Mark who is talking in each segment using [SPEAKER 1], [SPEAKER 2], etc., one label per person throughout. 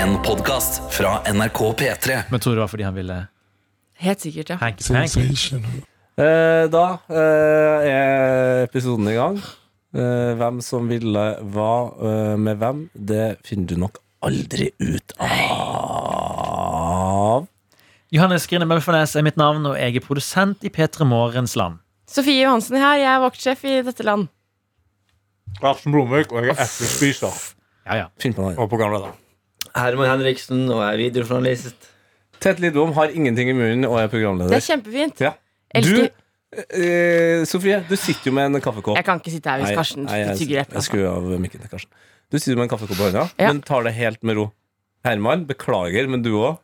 [SPEAKER 1] En podcast fra NRK P3
[SPEAKER 2] Men tror det var fordi han ville
[SPEAKER 3] Helt sikkert, ja.
[SPEAKER 2] hanky panky.
[SPEAKER 4] Sensational.
[SPEAKER 5] Eh, da eh, er episoden i gang. Eh, hvem som ville hva eh, med hvem, det finner du nok aldri ut av.
[SPEAKER 2] Johannes Grine Mølfernes er mitt navn, og jeg er produsent i P3 Morgens land.
[SPEAKER 3] Sofie Johansen her, jeg er vaktsjef i dette land.
[SPEAKER 6] Karsten Blomvik, og jeg er eplespyser.
[SPEAKER 2] Ja, ja.
[SPEAKER 5] Finn på noe annet.
[SPEAKER 6] Og programleder.
[SPEAKER 7] Herman Henriksen, og jeg er videojournalist.
[SPEAKER 5] Tete Lidbom har ingenting i munnen og er
[SPEAKER 3] Det er
[SPEAKER 5] programleder.
[SPEAKER 3] kjempefint.
[SPEAKER 5] Ja. Du,
[SPEAKER 3] Elsker.
[SPEAKER 5] eh, Sofie, du sitter jo med en kaffekopp.
[SPEAKER 3] Jeg kan ikke sitte her hvis Karsten
[SPEAKER 5] nei, jeg,
[SPEAKER 3] tygger eple.
[SPEAKER 5] jeg skrur av mikken til Karsten. Du sitter med en kaffekopp i hånda,
[SPEAKER 3] Ja.
[SPEAKER 5] men tar det helt med ro. Herman, beklager, men du òg.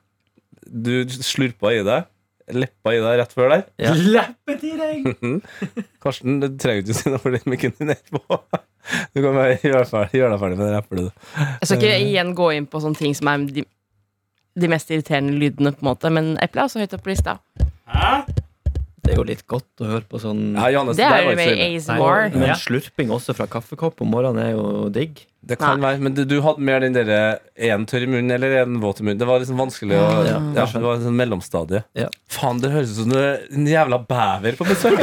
[SPEAKER 5] Du slurpa i deg. Leppa i deg rett før der.
[SPEAKER 7] Ja.
[SPEAKER 2] Leppet i deg!
[SPEAKER 5] Karsten, du trenger ikke å si noe for den mikken din etterpå. Du kan bare gjøre, deg ferdig, gjøre deg ferdig med det eplet. du.
[SPEAKER 3] Jeg skal
[SPEAKER 5] Eh.
[SPEAKER 3] ikke igjen gå inn på sånne ting som er de, de mest irriterende lydene, på en måte, men eple er også høyt oppe på lista.
[SPEAKER 7] Det er jo litt godt å høre på sånn
[SPEAKER 5] Ja, Johannes,
[SPEAKER 3] Mm. Det
[SPEAKER 5] der
[SPEAKER 3] er
[SPEAKER 5] var
[SPEAKER 3] jo
[SPEAKER 5] ikke så
[SPEAKER 3] med
[SPEAKER 5] ille.
[SPEAKER 3] ASMR.
[SPEAKER 7] Men
[SPEAKER 2] Ja.
[SPEAKER 7] slurping også fra kaffekopp om morgenen er jo digg.
[SPEAKER 5] Det kan være, men du, du hadde mer den derre én tørr i munnen eller én våt i munnen. Det var liksom vanskelig å ja,
[SPEAKER 7] Ja,
[SPEAKER 5] Det var en sånn mellomstadie.
[SPEAKER 7] Ja.
[SPEAKER 5] Faen, det høres ut som det er en jævla bever på besøk!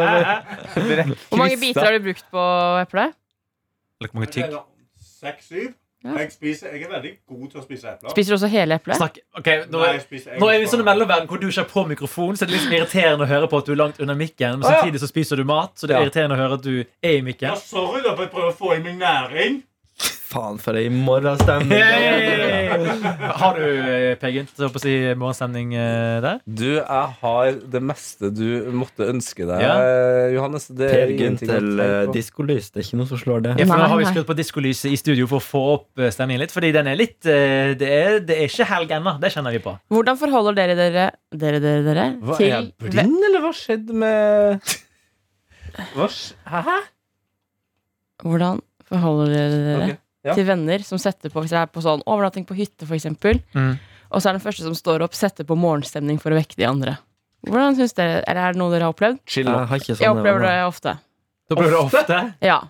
[SPEAKER 3] Hvor mange biter har du brukt på eplet?
[SPEAKER 2] Eller hvor mange tygg.
[SPEAKER 6] Seks-syv.
[SPEAKER 3] Ja.
[SPEAKER 6] Jeg spiser, jeg er veldig god til å spise epler.
[SPEAKER 3] Spiser du også hele eplet?
[SPEAKER 2] Snakk. Ok, nå er, nå er vi i sånn mellomverden hvor du ikke har på mikrofon, så det er liksom irriterende å høre på at du er langt unna mikken, men samtidig så spiser du mat, så det
[SPEAKER 5] Ja.
[SPEAKER 2] er irriterende å høre at du er i
[SPEAKER 6] Ja,
[SPEAKER 2] mikken.
[SPEAKER 6] sorry, da, for jeg prøver å få i meg næring.
[SPEAKER 7] Faen, for ei morgenstemning.
[SPEAKER 2] Hey! Har du, eh, Per Gynt, holdt på å si morgenstemning eh, der?
[SPEAKER 5] Du, jeg har det meste du måtte ønske deg,
[SPEAKER 2] Ja.
[SPEAKER 5] eh, Johannes. Det er
[SPEAKER 7] Per Gynt
[SPEAKER 5] ingenting å
[SPEAKER 7] til
[SPEAKER 5] tenke på.
[SPEAKER 7] diskolys. Det er ikke noe som slår det.
[SPEAKER 2] Ja, for
[SPEAKER 3] Nei,
[SPEAKER 2] Nå har vi
[SPEAKER 3] nei.
[SPEAKER 2] skrudd på diskolyset i studio for å få opp eh, stemningen litt, fordi den er litt eh, Det er, det er ikke helg ennå, det kjenner vi på.
[SPEAKER 3] Hvordan forholder dere dere, dere, dere, dere
[SPEAKER 5] Hva er jeg
[SPEAKER 3] til
[SPEAKER 5] blind, eller hva skjedde med Hva sk... Hæ?
[SPEAKER 3] Hvordan forholder dere dere
[SPEAKER 5] Ok, ja.
[SPEAKER 3] til venner som setter på Hvis dere er på sånn overnatting på hytte, for eksempel
[SPEAKER 2] Mm.
[SPEAKER 3] og så er den første som står opp, setter på morgenstemning for å vekke de andre. Hvordan synes dere, Eller er det noe dere har opplevd?
[SPEAKER 5] Chill nå.
[SPEAKER 7] Jeg har ikke
[SPEAKER 3] Jeg
[SPEAKER 7] sånne
[SPEAKER 3] opplever Sånn det
[SPEAKER 7] venner.
[SPEAKER 3] ofte.
[SPEAKER 2] Da blir det ofte.
[SPEAKER 3] Ja.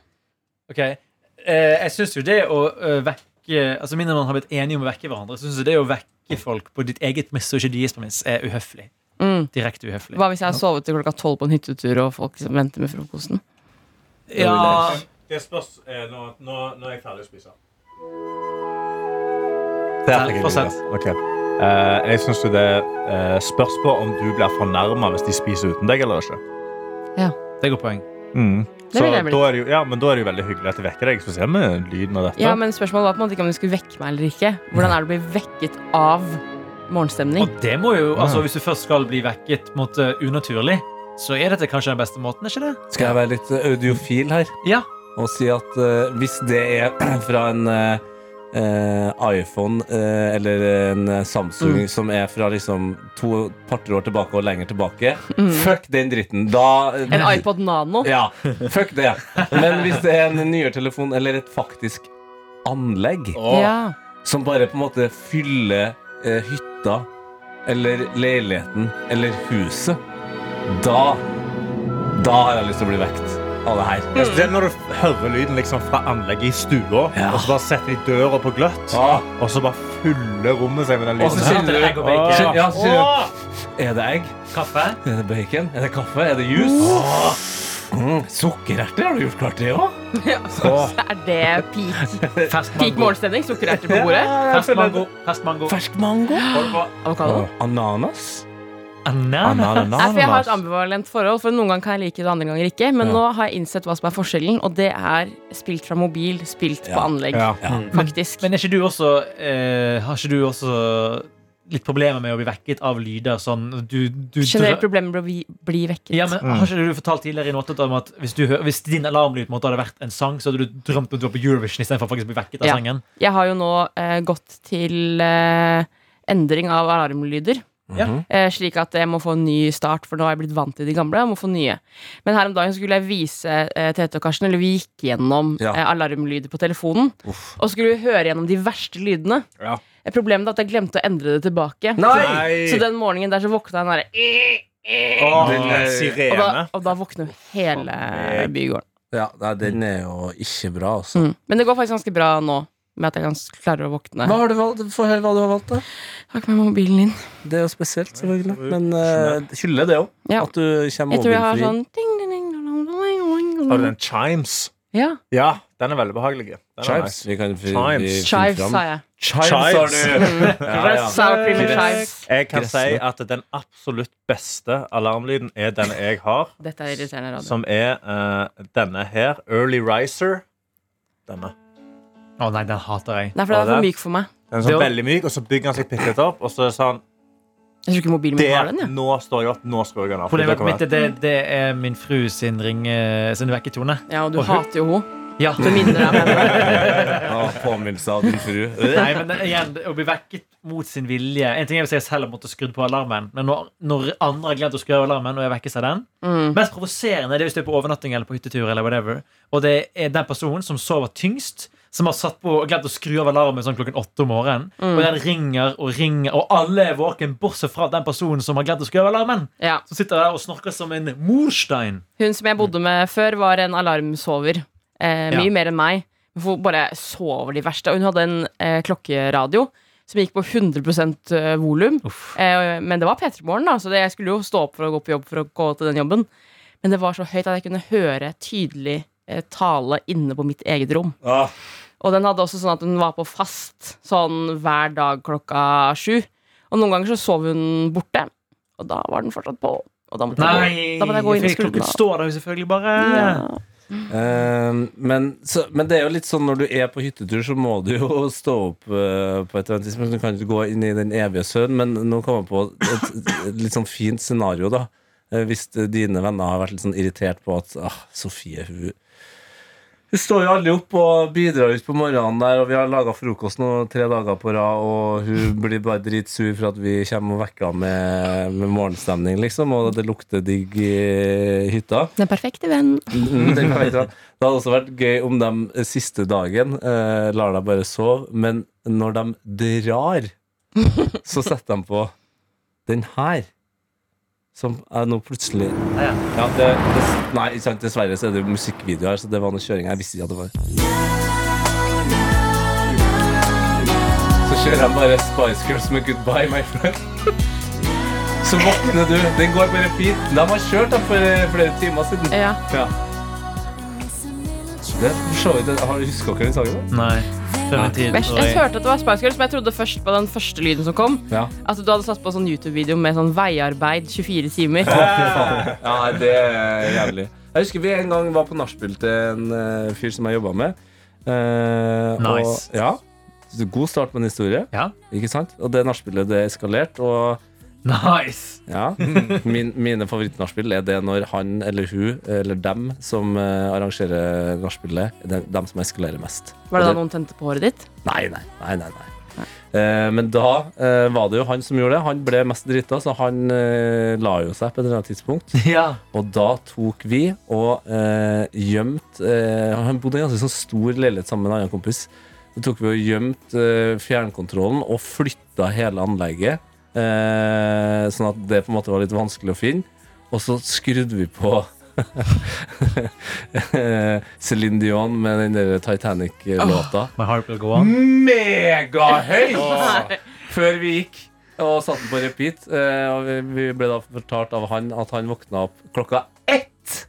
[SPEAKER 2] Ok, eh, Jeg syns jo det å eh, vekke Altså Mindre man har blitt enige om å vekke hverandre, så syns jeg det å vekke folk på ditt eget premiss og ikke deres premiss er uhøflig.
[SPEAKER 3] Mm.
[SPEAKER 2] Direkte uhøflig.
[SPEAKER 3] Hva hvis jeg har sovet til klokka tolv på en hyttetur, og folk liksom venter med frokosten?
[SPEAKER 2] Ja,
[SPEAKER 6] Det spørs eh, når, når, når jeg er ferdig å spise.
[SPEAKER 2] Fortsett.
[SPEAKER 6] Eh, jeg syns det eh, spørs på om du blir fornærma hvis de spiser uten deg eller ikke.
[SPEAKER 2] Mm.
[SPEAKER 6] Mm.
[SPEAKER 2] Det er godt poeng.
[SPEAKER 3] Det Så vil jeg bli. da
[SPEAKER 6] er det jo, veldig hyggelig at jeg vekker deg, spesielt med lyden av dette.
[SPEAKER 3] Ja, men spørsmålet var på en måte ikke om du skulle vekke meg eller ikke. Hvordan er det å bli vekket av morgenstemning?
[SPEAKER 2] Og det må jo, altså Hvis du først skal bli vekket på en måte unaturlig, så er dette kanskje den beste måten, er ikke det?
[SPEAKER 5] Skal jeg være litt eh, audiofil her
[SPEAKER 2] Ja.
[SPEAKER 5] og si at eh, hvis det er fra en eh, eh, iPhone eh, eller en eh, Samsung som er fra liksom to par-tre år tilbake og lenger tilbake Fuck den dritten. Da eh,
[SPEAKER 3] En iPod Nano?
[SPEAKER 5] Ja, fuck det. Men hvis det er en nyere telefon eller et faktisk anlegg
[SPEAKER 3] Ja.
[SPEAKER 5] som bare på en måte fyller eh, hytta eller leiligheten eller huset, da Da har jeg lyst til å bli vekt av det her.
[SPEAKER 6] Spesielt når du hører lyden liksom fra anlegget i stua,
[SPEAKER 5] Ja.
[SPEAKER 6] og så bare setter de døra på gløtt,
[SPEAKER 5] Ah,
[SPEAKER 6] og så bare fyller rommet seg med den
[SPEAKER 5] og så
[SPEAKER 6] lyden.
[SPEAKER 2] kjenner
[SPEAKER 5] kjenner du
[SPEAKER 2] Egg og bacon.
[SPEAKER 5] Kjenner- ja, så kjenner
[SPEAKER 6] Åh!
[SPEAKER 5] du- Er det egg?
[SPEAKER 2] Kaffe.
[SPEAKER 5] Er det bacon? Er det kaffe? Er det juice? Mm, sukkererter har du gjort klart det òg?
[SPEAKER 6] Åh,
[SPEAKER 3] Er det peak,
[SPEAKER 2] Fersk
[SPEAKER 3] peak
[SPEAKER 2] mango.
[SPEAKER 3] morgenstemning? Sukkererter på bordet?
[SPEAKER 2] Fersk mango. Fersk mango.
[SPEAKER 5] Fersk mango?
[SPEAKER 3] Avokado?
[SPEAKER 5] Ananas?
[SPEAKER 2] Ananas.
[SPEAKER 3] Nei, for jeg har et ambivalent forhold. For Noen ganger kan jeg like det, andre ganger ikke. Men nå har jeg innsett hva som er forskjellen, og det er spilt fra mobil, spilt på
[SPEAKER 5] Ja.
[SPEAKER 3] anlegg.
[SPEAKER 6] ja.
[SPEAKER 3] Faktisk.
[SPEAKER 2] Men er ikke du også eh, Har ikke du også litt problemer med å bli vekket av lyder sånn du, du
[SPEAKER 3] Generelt problem med å bli, bli vekket.
[SPEAKER 2] Ja, men Har ikke du fortalt tidligere i Nåttet om at hvis, du, hø- hvis din alarmlyd på en måte hadde vært en sang, så hadde du drømt om at du var på Eurovision istedenfor å faktisk bli vekket av
[SPEAKER 3] Ja.
[SPEAKER 2] sangen?
[SPEAKER 3] Jeg har jo nå eh, gått til eh, endring av alarmlyder.
[SPEAKER 2] Ja.
[SPEAKER 5] Mm-hmm.
[SPEAKER 3] Eh, slik at jeg må få en ny start, for nå har jeg blitt vant til de gamle. Jeg må få nye Men her om dagen skulle jeg vise eh, Tete og Karsten Eller vi gikk gjennom
[SPEAKER 5] Ja.
[SPEAKER 3] eh, alarmlyder på telefonen. Og skulle vi høre gjennom de verste lydene.
[SPEAKER 6] Ja.
[SPEAKER 3] Eh, Problemet er at jeg glemte å endre det tilbake.
[SPEAKER 6] Nei!
[SPEAKER 3] Så den morgenen der så våkna jeg nære
[SPEAKER 6] Åh,
[SPEAKER 5] Den er-
[SPEAKER 3] og da,
[SPEAKER 6] sirene.
[SPEAKER 3] og da våkner jo hele bygården.
[SPEAKER 5] Ja, nei, den er jo ikke bra, altså.
[SPEAKER 3] Mm. Men det går faktisk ganske bra nå med at jeg kan s- klarer å våkne.
[SPEAKER 5] Hva har du valgt? Få høre hva du har valgt, da.
[SPEAKER 3] Jeg har ikke med mobilen din.
[SPEAKER 5] Det er jo spesielt, selvfølgelig. Men uh, hylle det òg.
[SPEAKER 3] Ja.
[SPEAKER 5] At du kommer
[SPEAKER 3] Jeg tror jeg har
[SPEAKER 5] mobilfri.
[SPEAKER 3] sånn ding, ding, ding, dong, dong, dong, dong.
[SPEAKER 6] Har du den Chimes?
[SPEAKER 3] Ja.
[SPEAKER 6] Ja, den er veldig behagelig. Den er
[SPEAKER 5] Chives.
[SPEAKER 6] nice.
[SPEAKER 5] Vi kan fi-
[SPEAKER 6] Chimes.
[SPEAKER 5] vi finner
[SPEAKER 3] Chives,
[SPEAKER 5] fram.
[SPEAKER 3] sa jeg.
[SPEAKER 5] Chives, har
[SPEAKER 6] Chives.
[SPEAKER 5] du.
[SPEAKER 6] Ja, ja.
[SPEAKER 3] Sour cream and chives.
[SPEAKER 6] Jeg kan si
[SPEAKER 5] Gressene.
[SPEAKER 6] at den absolutt beste alarmlyden er den jeg har,
[SPEAKER 3] Dette er irriterende radio.
[SPEAKER 6] som er eh, denne her. Early Riser. Denne.
[SPEAKER 2] Å nei, den hater jeg.
[SPEAKER 3] Nei, for den er
[SPEAKER 6] Var
[SPEAKER 3] for
[SPEAKER 6] det?
[SPEAKER 3] myk for meg.
[SPEAKER 6] Den er
[SPEAKER 2] Det
[SPEAKER 6] sånn
[SPEAKER 2] var-
[SPEAKER 6] veldig myk, og så bygger han seg pikket opp, og så er det sånn
[SPEAKER 3] Jeg tror ikke mobilen min har
[SPEAKER 6] Der!
[SPEAKER 3] den. Ja.
[SPEAKER 6] Nå står jeg opp. Nå skrur jeg den av.
[SPEAKER 2] Problemet mitt er det, det er min fru sin ringe sin vekketone.
[SPEAKER 3] ja, og du
[SPEAKER 2] Og hun-
[SPEAKER 3] hater jo henne.
[SPEAKER 2] Ja.
[SPEAKER 3] Du minner deg om henne.
[SPEAKER 5] Å, Påminnelse av din fru.
[SPEAKER 2] Nei, men igjen, å bli vekket mot sin vilje En ting er hvis jeg selv måtte skrudd på alarmen, men når, når andre har glemt å skru av alarmen, og jeg vekkes av den
[SPEAKER 3] Mm.
[SPEAKER 2] Mest provoserende er det hvis du er på overnatting eller på hyttetur, eller whatever, og det er den personen som sover tyngst, som har satt på og glemt å skru av alarmen sånn klokken åtte om morgenen,
[SPEAKER 3] Mm.
[SPEAKER 2] og den ringer og ringer, og alle er våken bortsett fra den personen som har glemt å skru av alarmen.
[SPEAKER 3] Ja.
[SPEAKER 2] Som sitter der og snorker som en morstein.
[SPEAKER 3] Hun som jeg bodde med før, var en alarmsover. Eh, mye
[SPEAKER 2] Ja.
[SPEAKER 3] mer enn meg. Hun bare sover de verste. Og hun hadde en eh, klokkeradio som gikk på 100 volum. Eh, men det var P3 Morgen, da, så det, jeg skulle jo stå opp for å gå på jobb for å gå til den jobben. Men det var så høyt at jeg kunne høre tydelig eh, tale inne på mitt eget rom.
[SPEAKER 5] Ah,
[SPEAKER 3] Og den hadde også sånn at hun var på fast sånn hver dag klokka sju. Og noen ganger så sov hun borte, og da var den fortsatt på. Og da måtte jeg gå.
[SPEAKER 2] Nei!
[SPEAKER 3] Da må jeg gå inn og
[SPEAKER 2] fordi
[SPEAKER 3] skru den
[SPEAKER 2] klokken
[SPEAKER 3] av.
[SPEAKER 2] står der jo selvfølgelig bare.
[SPEAKER 3] Ja.
[SPEAKER 5] eh, men, så, men det er jo litt sånn når du er på hyttetur, så må du jo stå opp eh, på et eller annet tidspunkt. Du kan ikke gå inn i den evige søvn, men nå kom jeg på et, et litt sånn fint scenario, da. Eh, Hvis dine venner har vært litt sånn irritert på at ah, Sofie, hun Vi står jo alle opp og bidrar ut på morgenen der, og vi har laga frokost nå tre dager på rad, og hun blir bare dritsur for at vi kommer og vekker henne med, med morgenstemning, liksom, og det lukter digg i hytta.
[SPEAKER 3] Den perfekte venn.
[SPEAKER 5] Mm, det, kan jeg ikke ta. det hadde også vært gøy om de eh, siste dagen eh, lar deg bare sove, men når de drar, så setter de på den her. Som er nå plutselig
[SPEAKER 2] Ja.
[SPEAKER 5] ja, det, det, Nei, ikke sant, dessverre så er det jo musikkvideo her, så det var noe kjøring. Jeg visste ikke at det var Så kjører jeg bare Spice Girls med 'Goodbye, my friend'. Så våkner du. Den går på repeat. De har kjørt den for eh, flere timer siden.
[SPEAKER 3] Ja.
[SPEAKER 5] Ja. Det er for så vidt Har du huska dere den sangen?
[SPEAKER 2] Nei. Før min tid.
[SPEAKER 3] Men
[SPEAKER 2] tror
[SPEAKER 3] Jeg, jeg
[SPEAKER 2] jeg.
[SPEAKER 3] hørte at det var Spice Girls, men jeg trodde først på den første lyden som kom.
[SPEAKER 5] Ja.
[SPEAKER 3] At du hadde satt på sånn YouTube-video med sånn veiarbeid 24 timer.
[SPEAKER 5] ja, det er jævlig. Jeg husker vi en gang var på nachspiel til en eh, fyr som jeg jobba med. Eh,
[SPEAKER 2] Nice.
[SPEAKER 5] Og, ja. Så God start på en historie.
[SPEAKER 2] Ja.
[SPEAKER 5] Ikke sant? Og det nachspielet det eskalerte, og
[SPEAKER 2] Nice!
[SPEAKER 5] Ja. Min, mine favorittnachspiel er det når han eller hun eller dem som eh, arrangerer nachspielet, det er dem som eskalerer mest.
[SPEAKER 3] Var det da
[SPEAKER 5] Og
[SPEAKER 3] noen tente på håret ditt?
[SPEAKER 5] Nei, nei, nei, nei, nei. Eh, men da eh, var det jo han som gjorde det. Han ble mest drita, så han eh, la jo seg på et eller annet tidspunkt.
[SPEAKER 2] Ja.
[SPEAKER 5] Og da tok vi og eh, gjemte eh, Han bodde i en ganske sånn stor leilighet sammen med en annen kompis. Så tok vi og gjemte eh, fjernkontrollen og flytta hele anlegget. Eh, sånn at det på en måte var litt vanskelig å finne. Og så skrudde vi på Céline Dion med den der Titanic-låta
[SPEAKER 2] My heart will go on.
[SPEAKER 5] megahøyt før vi gikk. Og satte den på repeat. eh, Og vi- vi ble da fortalt av han at han våkna opp klokka ett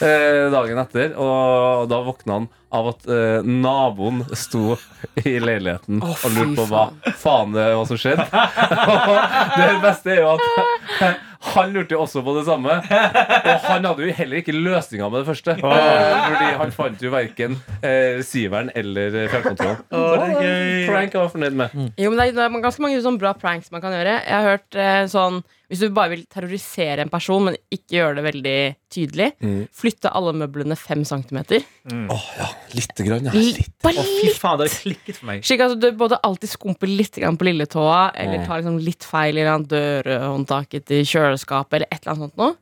[SPEAKER 5] eh, dagen etter. Og da våkna han av at eh, naboen sto i leiligheten
[SPEAKER 3] Å,
[SPEAKER 5] og lurte på
[SPEAKER 3] fy
[SPEAKER 5] hva faen det var som skjedde. Og det beste er jo at han lurte jo også på det samme. Og han hadde jo heller ikke løsninga med det første. eh, Fordi han fant jo verken eh, siveren eller eh, fjernkontrollen.
[SPEAKER 2] Å, det er gøy.
[SPEAKER 5] Prank jeg var fornøyd med.
[SPEAKER 3] Jo, men det er, det er ganske mange sånn bra pranks man kan gjøre. Jeg har hørt eh, sånn Hvis du bare vil terrorisere en person, men ikke gjøre det veldig tydelig,
[SPEAKER 5] Mm.
[SPEAKER 3] flytte alle møblene fem centimeter.
[SPEAKER 5] Lite grann, ja.
[SPEAKER 3] Bare
[SPEAKER 2] Å, fy faen, det hadde klikket for meg.
[SPEAKER 3] Slik at du både alltid skumper litt grann på lilletåa, eller tar liksom litt feil i den dørhåndtaket i kjøleskapet, eller et eller annet sånt noe.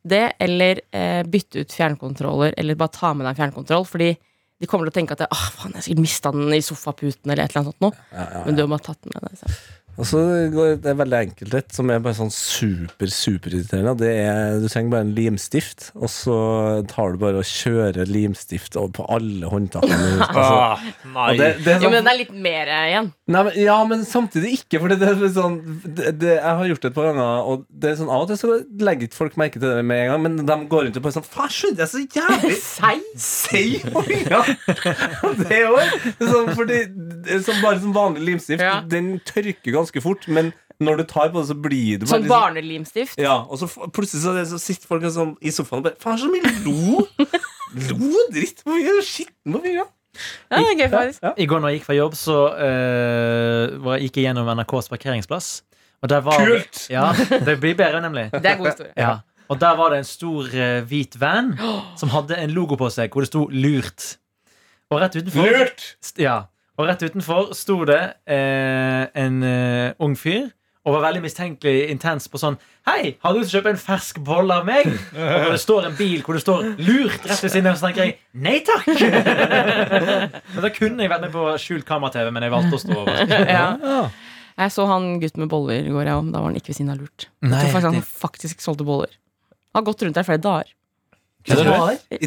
[SPEAKER 3] Det, eller eh, bytte ut fjernkontroller, eller bare ta med deg en fjernkontroll, fordi de kommer til å tenke at det, Åh, faen, jeg har sikkert mista den i sofaputen, eller et eller annet sånt noe. Men du har bare tatt den med deg. Så.
[SPEAKER 5] Og så går det er veldig enkelt rett, som er bare sånn super, superirriterende. Det er, du trenger bare en limstift, og så tar du bare og kjører limstift over på alle håndtakene. Altså,
[SPEAKER 6] Ah,
[SPEAKER 5] og det, det er
[SPEAKER 3] Jo,
[SPEAKER 5] sånn,
[SPEAKER 3] men den er litt mer eh, igjen.
[SPEAKER 5] nei, men, ja, men samtidig ikke, for det, det er litt sånn det, det, Jeg har gjort det et par ganger, og det er sånn av og til så legger ikke folk merke til det med en gang, men de går rundt og bare sånn Faen, skjønner jeg så jævlig
[SPEAKER 3] Seig.
[SPEAKER 5] Sei på fingra! Det òg. Sånn, fordi det er sånn bare som vanlig limstift,
[SPEAKER 3] Ja.
[SPEAKER 5] den tørker ganske fort, men når du tar på det, så blir det bare
[SPEAKER 3] Sånn
[SPEAKER 5] litt-
[SPEAKER 3] barnelimstift.
[SPEAKER 5] Ja, og så f- plutselig så, er det- så sitter folk sånn i sofaen og bare Faen, så mye lo! Lo og dritt på fingra! Skitten på fingra!
[SPEAKER 3] Ja, det er gøy, faktisk.
[SPEAKER 2] I går når jeg gikk fra jobb, så eh, var, gikk jeg gjennom NRKs parkeringsplass. Og der var
[SPEAKER 5] Kult!
[SPEAKER 2] Ja, det blir bedre, nemlig.
[SPEAKER 3] Det er god historie.
[SPEAKER 2] Ja. Og der var det en stor eh, hvit van som hadde en logo på seg hvor det sto 'Lurt'. Og rett utenfor
[SPEAKER 5] Lurt!
[SPEAKER 2] St- Ja. Og rett utenfor sto det eh, en eh, ung fyr og var veldig mistenkelig intens på sånn Hei, har du lyst til å kjøpe en fersk bolle av meg? Og når det står en bil hvor det står 'lurt' rett ved siden av, så tenker jeg nei takk. men da kunne jeg vært med på skjult kamera-TV, men jeg valgte å stå over.
[SPEAKER 3] Ja. Jeg så han gutten med boller i går, jeg òg. Da var han ikke ved siden av lurt.
[SPEAKER 2] Nei,
[SPEAKER 3] jeg tror faktisk
[SPEAKER 2] det-
[SPEAKER 3] han faktisk solgte boller. Han har gått rundt der flere dager.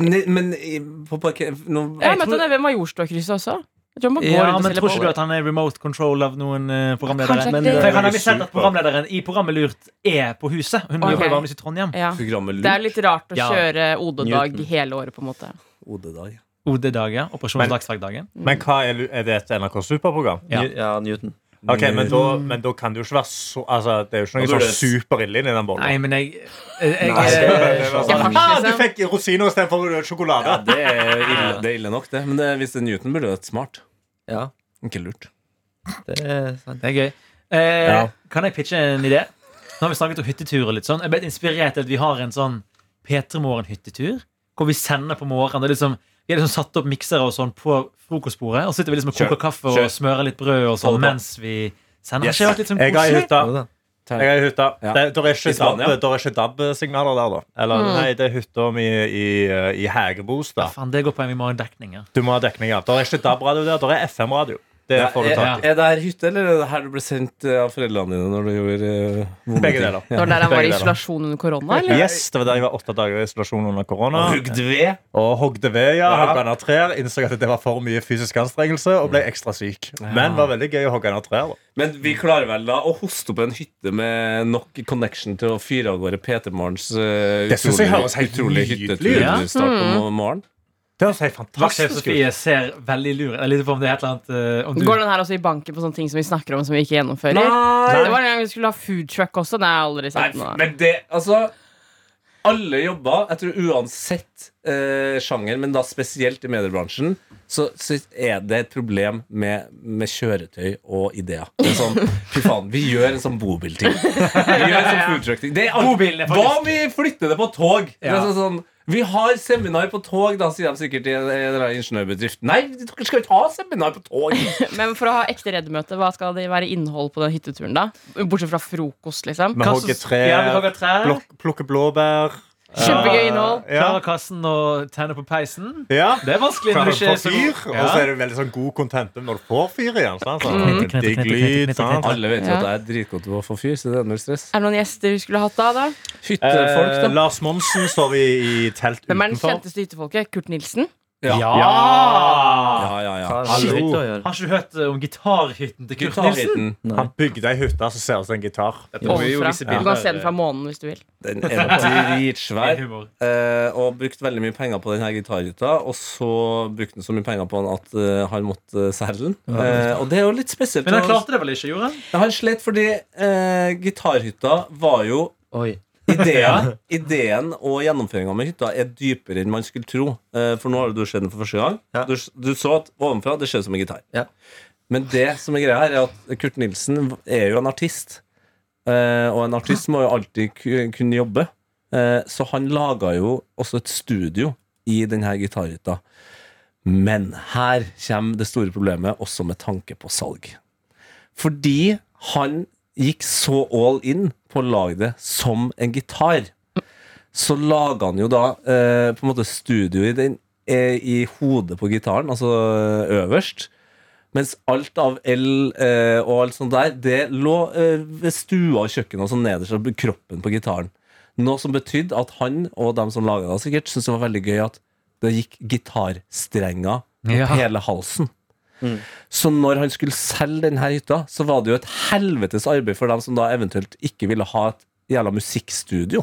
[SPEAKER 5] Ne, men i- på parker... Nå,
[SPEAKER 3] Jeg, møtte han ved Majorstua-krysset også. Jeg tror han bare går
[SPEAKER 2] Ja,
[SPEAKER 3] rundt og
[SPEAKER 2] men
[SPEAKER 3] selger
[SPEAKER 2] tror ikke du
[SPEAKER 3] boller.
[SPEAKER 2] at han er remote control av noen eh,
[SPEAKER 3] Kanskje
[SPEAKER 2] programledere?
[SPEAKER 3] Men-
[SPEAKER 2] For jeg kan
[SPEAKER 6] det er
[SPEAKER 2] nemlig sett at
[SPEAKER 6] super.
[SPEAKER 2] programlederen i programmet Lurt er på huset. Hun bor
[SPEAKER 3] Ok.
[SPEAKER 2] okay. vanligvis i Trondheim.
[SPEAKER 3] Ja.
[SPEAKER 5] Programmet
[SPEAKER 3] Det er jo litt rart å
[SPEAKER 2] Ja.
[SPEAKER 3] kjøre OD-dag
[SPEAKER 5] Newton.
[SPEAKER 3] hele året, på en måte.
[SPEAKER 5] Odedag.
[SPEAKER 2] OD-dagen. Operasjonsdagsfagdagen.
[SPEAKER 6] Men hva er, lu- er det et NRK Superprogram?
[SPEAKER 2] Ja.
[SPEAKER 7] New- Ja, Newton.
[SPEAKER 6] Ok, men da, men da kan det jo ikke være så altså, Det er jo ikke
[SPEAKER 7] Da
[SPEAKER 6] noe
[SPEAKER 7] blir
[SPEAKER 6] sånn
[SPEAKER 7] det-
[SPEAKER 6] superild inni den
[SPEAKER 2] Nei,
[SPEAKER 6] bollen.
[SPEAKER 2] men jeg, jeg, jeg, eh,
[SPEAKER 6] Det var
[SPEAKER 3] Jeg har
[SPEAKER 6] sånn,
[SPEAKER 3] ikke
[SPEAKER 6] ah, du
[SPEAKER 3] liksom-
[SPEAKER 6] fikk rosiner istedenfor sjokolade!
[SPEAKER 5] Ja, det er ille, det er ille nok, det. Men det, hvis det er Newton, burde det vært smart.
[SPEAKER 7] Ja,
[SPEAKER 5] Ikke lurt.
[SPEAKER 7] det er sant.
[SPEAKER 2] Det er gøy. Eh,
[SPEAKER 5] Ja.
[SPEAKER 2] Kan jeg pitche en idé? Nå har vi snakket om hytteturer litt sånn. Jeg ble inspirert til at vi har en sånn P3morgen-hyttetur. Hvor vi sender på morgenen. Det er liksom, vi har liksom satt opp miksere og sånn på frokostbordet. Og så sitter vi liksom og
[SPEAKER 6] Kjør.
[SPEAKER 2] koker kaffe og
[SPEAKER 6] Kjør.
[SPEAKER 2] smører litt brød og sånn
[SPEAKER 6] Hold på.
[SPEAKER 2] mens vi sender. Har ikke
[SPEAKER 6] Yes.
[SPEAKER 2] det vært litt sånn
[SPEAKER 6] Jeg har ei
[SPEAKER 2] koselig?
[SPEAKER 6] hytte.
[SPEAKER 7] Jo da.
[SPEAKER 6] Jeg er i hytta.
[SPEAKER 5] Ja.
[SPEAKER 6] Det, der er ikke
[SPEAKER 5] I Spania.
[SPEAKER 6] DAB- der er ikke DAB-signaler der, da. Eller
[SPEAKER 2] Mm.
[SPEAKER 6] nei, det er hytta mi i, i Hægebostad.
[SPEAKER 2] Faen, det går på en vi må ha dekning her.
[SPEAKER 6] Du må ha dekning av. Der er ikke DAB-radio der, der er FM-radio. Det
[SPEAKER 5] Ja,
[SPEAKER 6] får du
[SPEAKER 5] er,
[SPEAKER 6] tak i.
[SPEAKER 5] er det her hytte, eller er det her du ble sendt eh, av foreldrene dine når du gjorde eh, vonde
[SPEAKER 6] Begge
[SPEAKER 5] ting?
[SPEAKER 6] deler.
[SPEAKER 3] Det var der han var i
[SPEAKER 6] Begge deler.
[SPEAKER 3] isolasjon under korona, eller?
[SPEAKER 6] Yes, det var der jeg var åtte dager i isolasjon under korona.
[SPEAKER 5] Hugd ved.
[SPEAKER 6] Og hogde ved, ja. Hogde ned trær. Innså at det var for mye fysisk anstrengelse og ble ekstra syk. Men det var veldig gøy å hogge ned trær. da
[SPEAKER 5] Men vi klarer vel da å hoste opp en hytte med nok connection til å fyre av gårde PT-morgens uh,
[SPEAKER 6] Det synes jeg høres helt
[SPEAKER 5] utrolig
[SPEAKER 6] nydelig ut.
[SPEAKER 5] hyttetur
[SPEAKER 2] Ja.
[SPEAKER 5] du starter på mo- morgenen.
[SPEAKER 6] Det høres helt
[SPEAKER 2] Vaktsjef
[SPEAKER 6] fantastisk ut.
[SPEAKER 2] Sofie ser veldig lur ut. Jeg lurer på om det er et eller annet eh, om du,
[SPEAKER 3] Går den her også i banken på sånne ting som vi snakker om, som vi ikke gjennomfører?
[SPEAKER 5] Nei.
[SPEAKER 3] Det var en gang vi skulle ha food truck også. Nei, jeg har aldri sett
[SPEAKER 5] Nei,
[SPEAKER 3] noe.
[SPEAKER 5] men det, altså Alle jobber, jeg tror uansett eh, sjanger, men da spesielt i mediebransjen, så, så er det et problem med, med kjøretøy og ideer. Det er sånn, fy faen, vi gjør en sånn bobilting. Vi gjør en sånn foodtruck-ting. Det er alt-
[SPEAKER 2] Bobilen er faktisk-
[SPEAKER 5] Hva om vi flytter det på tog? Det er
[SPEAKER 2] Ja.
[SPEAKER 5] sånn, sånn, vi har seminar på tog, da sier de sikkert i en, i en eller annen ingeniørbedrift. Nei, dere skal ikke ha seminar på tog!
[SPEAKER 3] Men for å ha ekte reddemøte, hva skal det være innhold på den hytteturen, da? Bortsett fra frokost, liksom.
[SPEAKER 6] Vi
[SPEAKER 2] Hva
[SPEAKER 6] hogger
[SPEAKER 2] som- Ja, vi
[SPEAKER 6] trær,
[SPEAKER 2] hogger trær.
[SPEAKER 6] pluk plukker blåbær. eh, Ah.
[SPEAKER 3] Kjempegøy innhold.
[SPEAKER 6] Ja.
[SPEAKER 2] Klarer kassen og tenner på peisen.
[SPEAKER 6] ja.
[SPEAKER 2] Det er vanskelig
[SPEAKER 6] Kan
[SPEAKER 2] når du
[SPEAKER 6] du
[SPEAKER 2] ikke
[SPEAKER 6] få
[SPEAKER 2] er så
[SPEAKER 6] fyr,
[SPEAKER 2] god.
[SPEAKER 6] og så
[SPEAKER 2] Ja.
[SPEAKER 6] er det veldig sånn god kontentum når du får fyr igjen. Sant?
[SPEAKER 2] Mm.
[SPEAKER 6] Sånn, Digg lyd. sant?
[SPEAKER 5] Alle vet jo
[SPEAKER 3] Ja.
[SPEAKER 5] at jeg er dritgod til å få fyr, så det er null stress.
[SPEAKER 3] Er det noen gjester vi skulle hatt da? da?
[SPEAKER 5] Hyttefolk, da.
[SPEAKER 6] Eh, Lars Monsen står vi i telt
[SPEAKER 3] Hvem er den
[SPEAKER 6] utenfor.
[SPEAKER 3] kjenteste hyttefolket? Kurt Nilsen?
[SPEAKER 2] Ja! Ah!
[SPEAKER 5] Ja, ja, ja.
[SPEAKER 7] Hva har det
[SPEAKER 6] Hallo.
[SPEAKER 7] med hytta å gjøre?
[SPEAKER 2] Har ikke du hørt eh, om gitarhytten til Kurt Nilsen?
[SPEAKER 5] Gitarhytten.
[SPEAKER 7] Nei.
[SPEAKER 6] Han bygde ei hytte som ser ut som en gitar.
[SPEAKER 3] Ovenfra.
[SPEAKER 7] bilder.
[SPEAKER 3] Du kan se den fra månen hvis du vil.
[SPEAKER 5] Den er dritsvær.
[SPEAKER 2] Humor.
[SPEAKER 5] eh, og brukt veldig mye penger på denne gitarhytta. Og så brukte han så mye penger på den at eh, han måtte selge den. Eh, og det er jo litt spesielt.
[SPEAKER 2] Men han klarte det vel ikke, gjorde han?
[SPEAKER 5] Han slet fordi eh, gitarhytta var jo
[SPEAKER 7] Oi.
[SPEAKER 5] Ideen, ideen og gjennomføringa med hytta er dypere enn man skulle tro. Eh, For nå har du sett den for første gang.
[SPEAKER 7] Ja.
[SPEAKER 5] Du, du så at ovenfra det ser ut som en gitar.
[SPEAKER 7] Ja.
[SPEAKER 5] Men det som er greia her, er at Kurt Nilsen er jo en artist. Eh, Og en artist må jo alltid ku- kunne jobbe. Eh, Så han laga jo også et studio i denne gitarhytta. Men her kommer det store problemet, også med tanke på salg. Fordi han gikk så all in på å lage det som en gitar. Så laga han jo da eh, på en måte studio i, den, eh, i hodet på gitaren, altså eh, øverst. Mens alt av el eh, og alt sånt der, det lå eh, ved stua og kjøkkenet og sånn nederst og kroppen på gitaren. Noe som betydde at han og dem som laga det, sikkert syntes det var veldig gøy at det gikk gitarstrenger
[SPEAKER 2] Ja.
[SPEAKER 5] opp hele halsen. Så når han skulle selge denne hytta, så var det jo et helvetes arbeid for dem som da eventuelt ikke ville ha et jævla musikkstudio.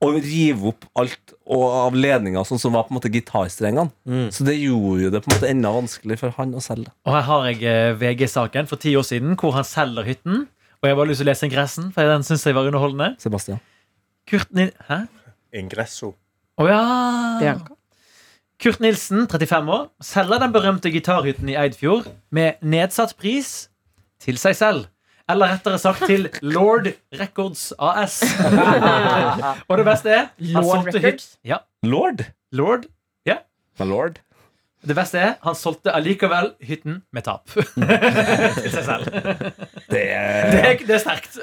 [SPEAKER 5] Og rive opp alt og av ledninga, sånn som var på en måte gitarstrengene. Så det gjorde jo det på en måte enda vanskelig for han å selge.
[SPEAKER 2] Og her har jeg eh, VG-saken for ti år siden, hvor han selger hytten. Og jeg har bare lyst til å lese ingressen, for den syns jeg var underholdende.
[SPEAKER 5] Sebastian.
[SPEAKER 2] Kurt Nil Hæ?
[SPEAKER 6] Ingresso.
[SPEAKER 2] Å ja!
[SPEAKER 3] Bianca.
[SPEAKER 2] Kurt Nilsen, 35 år, selger den berømte gitarhytten i Eidfjord med nedsatt pris til seg selv. Eller rettere sagt til Lord Records AS.
[SPEAKER 3] Mm.
[SPEAKER 2] og det beste er han
[SPEAKER 3] Lord
[SPEAKER 2] solgte
[SPEAKER 3] Records?
[SPEAKER 2] hyt- Ja,
[SPEAKER 5] Lord.
[SPEAKER 2] Lord.
[SPEAKER 5] Men Lord.
[SPEAKER 2] Det beste er han solgte allikevel hytten med tap. til seg selv.
[SPEAKER 5] Det er,
[SPEAKER 2] Det er, det er sterkt.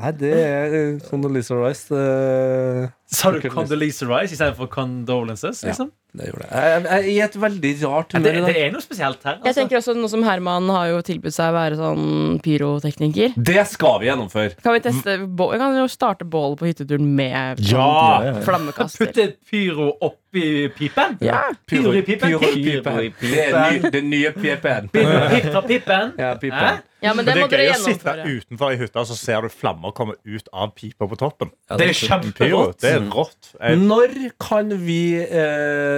[SPEAKER 5] Nei, det er eh, Condoleezza Rice. Det,
[SPEAKER 2] Sa du
[SPEAKER 5] Kurt Nilsen.
[SPEAKER 2] Condoleezza Rice istedenfor condolences? Liksom?
[SPEAKER 5] det gjorde jeg. Jeg, jeg, jeg er i et veldig rart
[SPEAKER 2] Ja,
[SPEAKER 5] humør
[SPEAKER 2] det,
[SPEAKER 5] i dag.
[SPEAKER 2] det er noe spesielt her.
[SPEAKER 3] Jeg
[SPEAKER 2] Altså.
[SPEAKER 3] tenker også Noe som Herman har jo tilbudt seg å være sånn pyrotekniker.
[SPEAKER 5] Det skal vi gjennomføre.
[SPEAKER 3] Kan vi teste bål? Kan vi jo starte bålet på hytteturen med sånn
[SPEAKER 7] Ja, ja, ja.
[SPEAKER 3] flammekaster?
[SPEAKER 2] Putte pyro oppi pipen?
[SPEAKER 3] Ja.
[SPEAKER 2] Pyro i pipen?
[SPEAKER 5] Pyro i
[SPEAKER 2] Pip-
[SPEAKER 5] pipen. Det er ny, den nye pipen.
[SPEAKER 2] Pip fra pipen?
[SPEAKER 5] Ja,
[SPEAKER 2] Hæ?
[SPEAKER 5] pipen.
[SPEAKER 3] ja, men det
[SPEAKER 6] Men
[SPEAKER 3] må
[SPEAKER 6] det
[SPEAKER 3] dere
[SPEAKER 6] er gøy å sitte
[SPEAKER 3] gjennomføre.
[SPEAKER 6] utenfor i hytta, så ser du flammer komme ut av pipa på toppen.
[SPEAKER 7] Ja,
[SPEAKER 2] Det er
[SPEAKER 7] kult.
[SPEAKER 6] Pyro,
[SPEAKER 2] kjemperått.
[SPEAKER 6] det er rått. Mm. Jeg,
[SPEAKER 5] Når kan vi eh,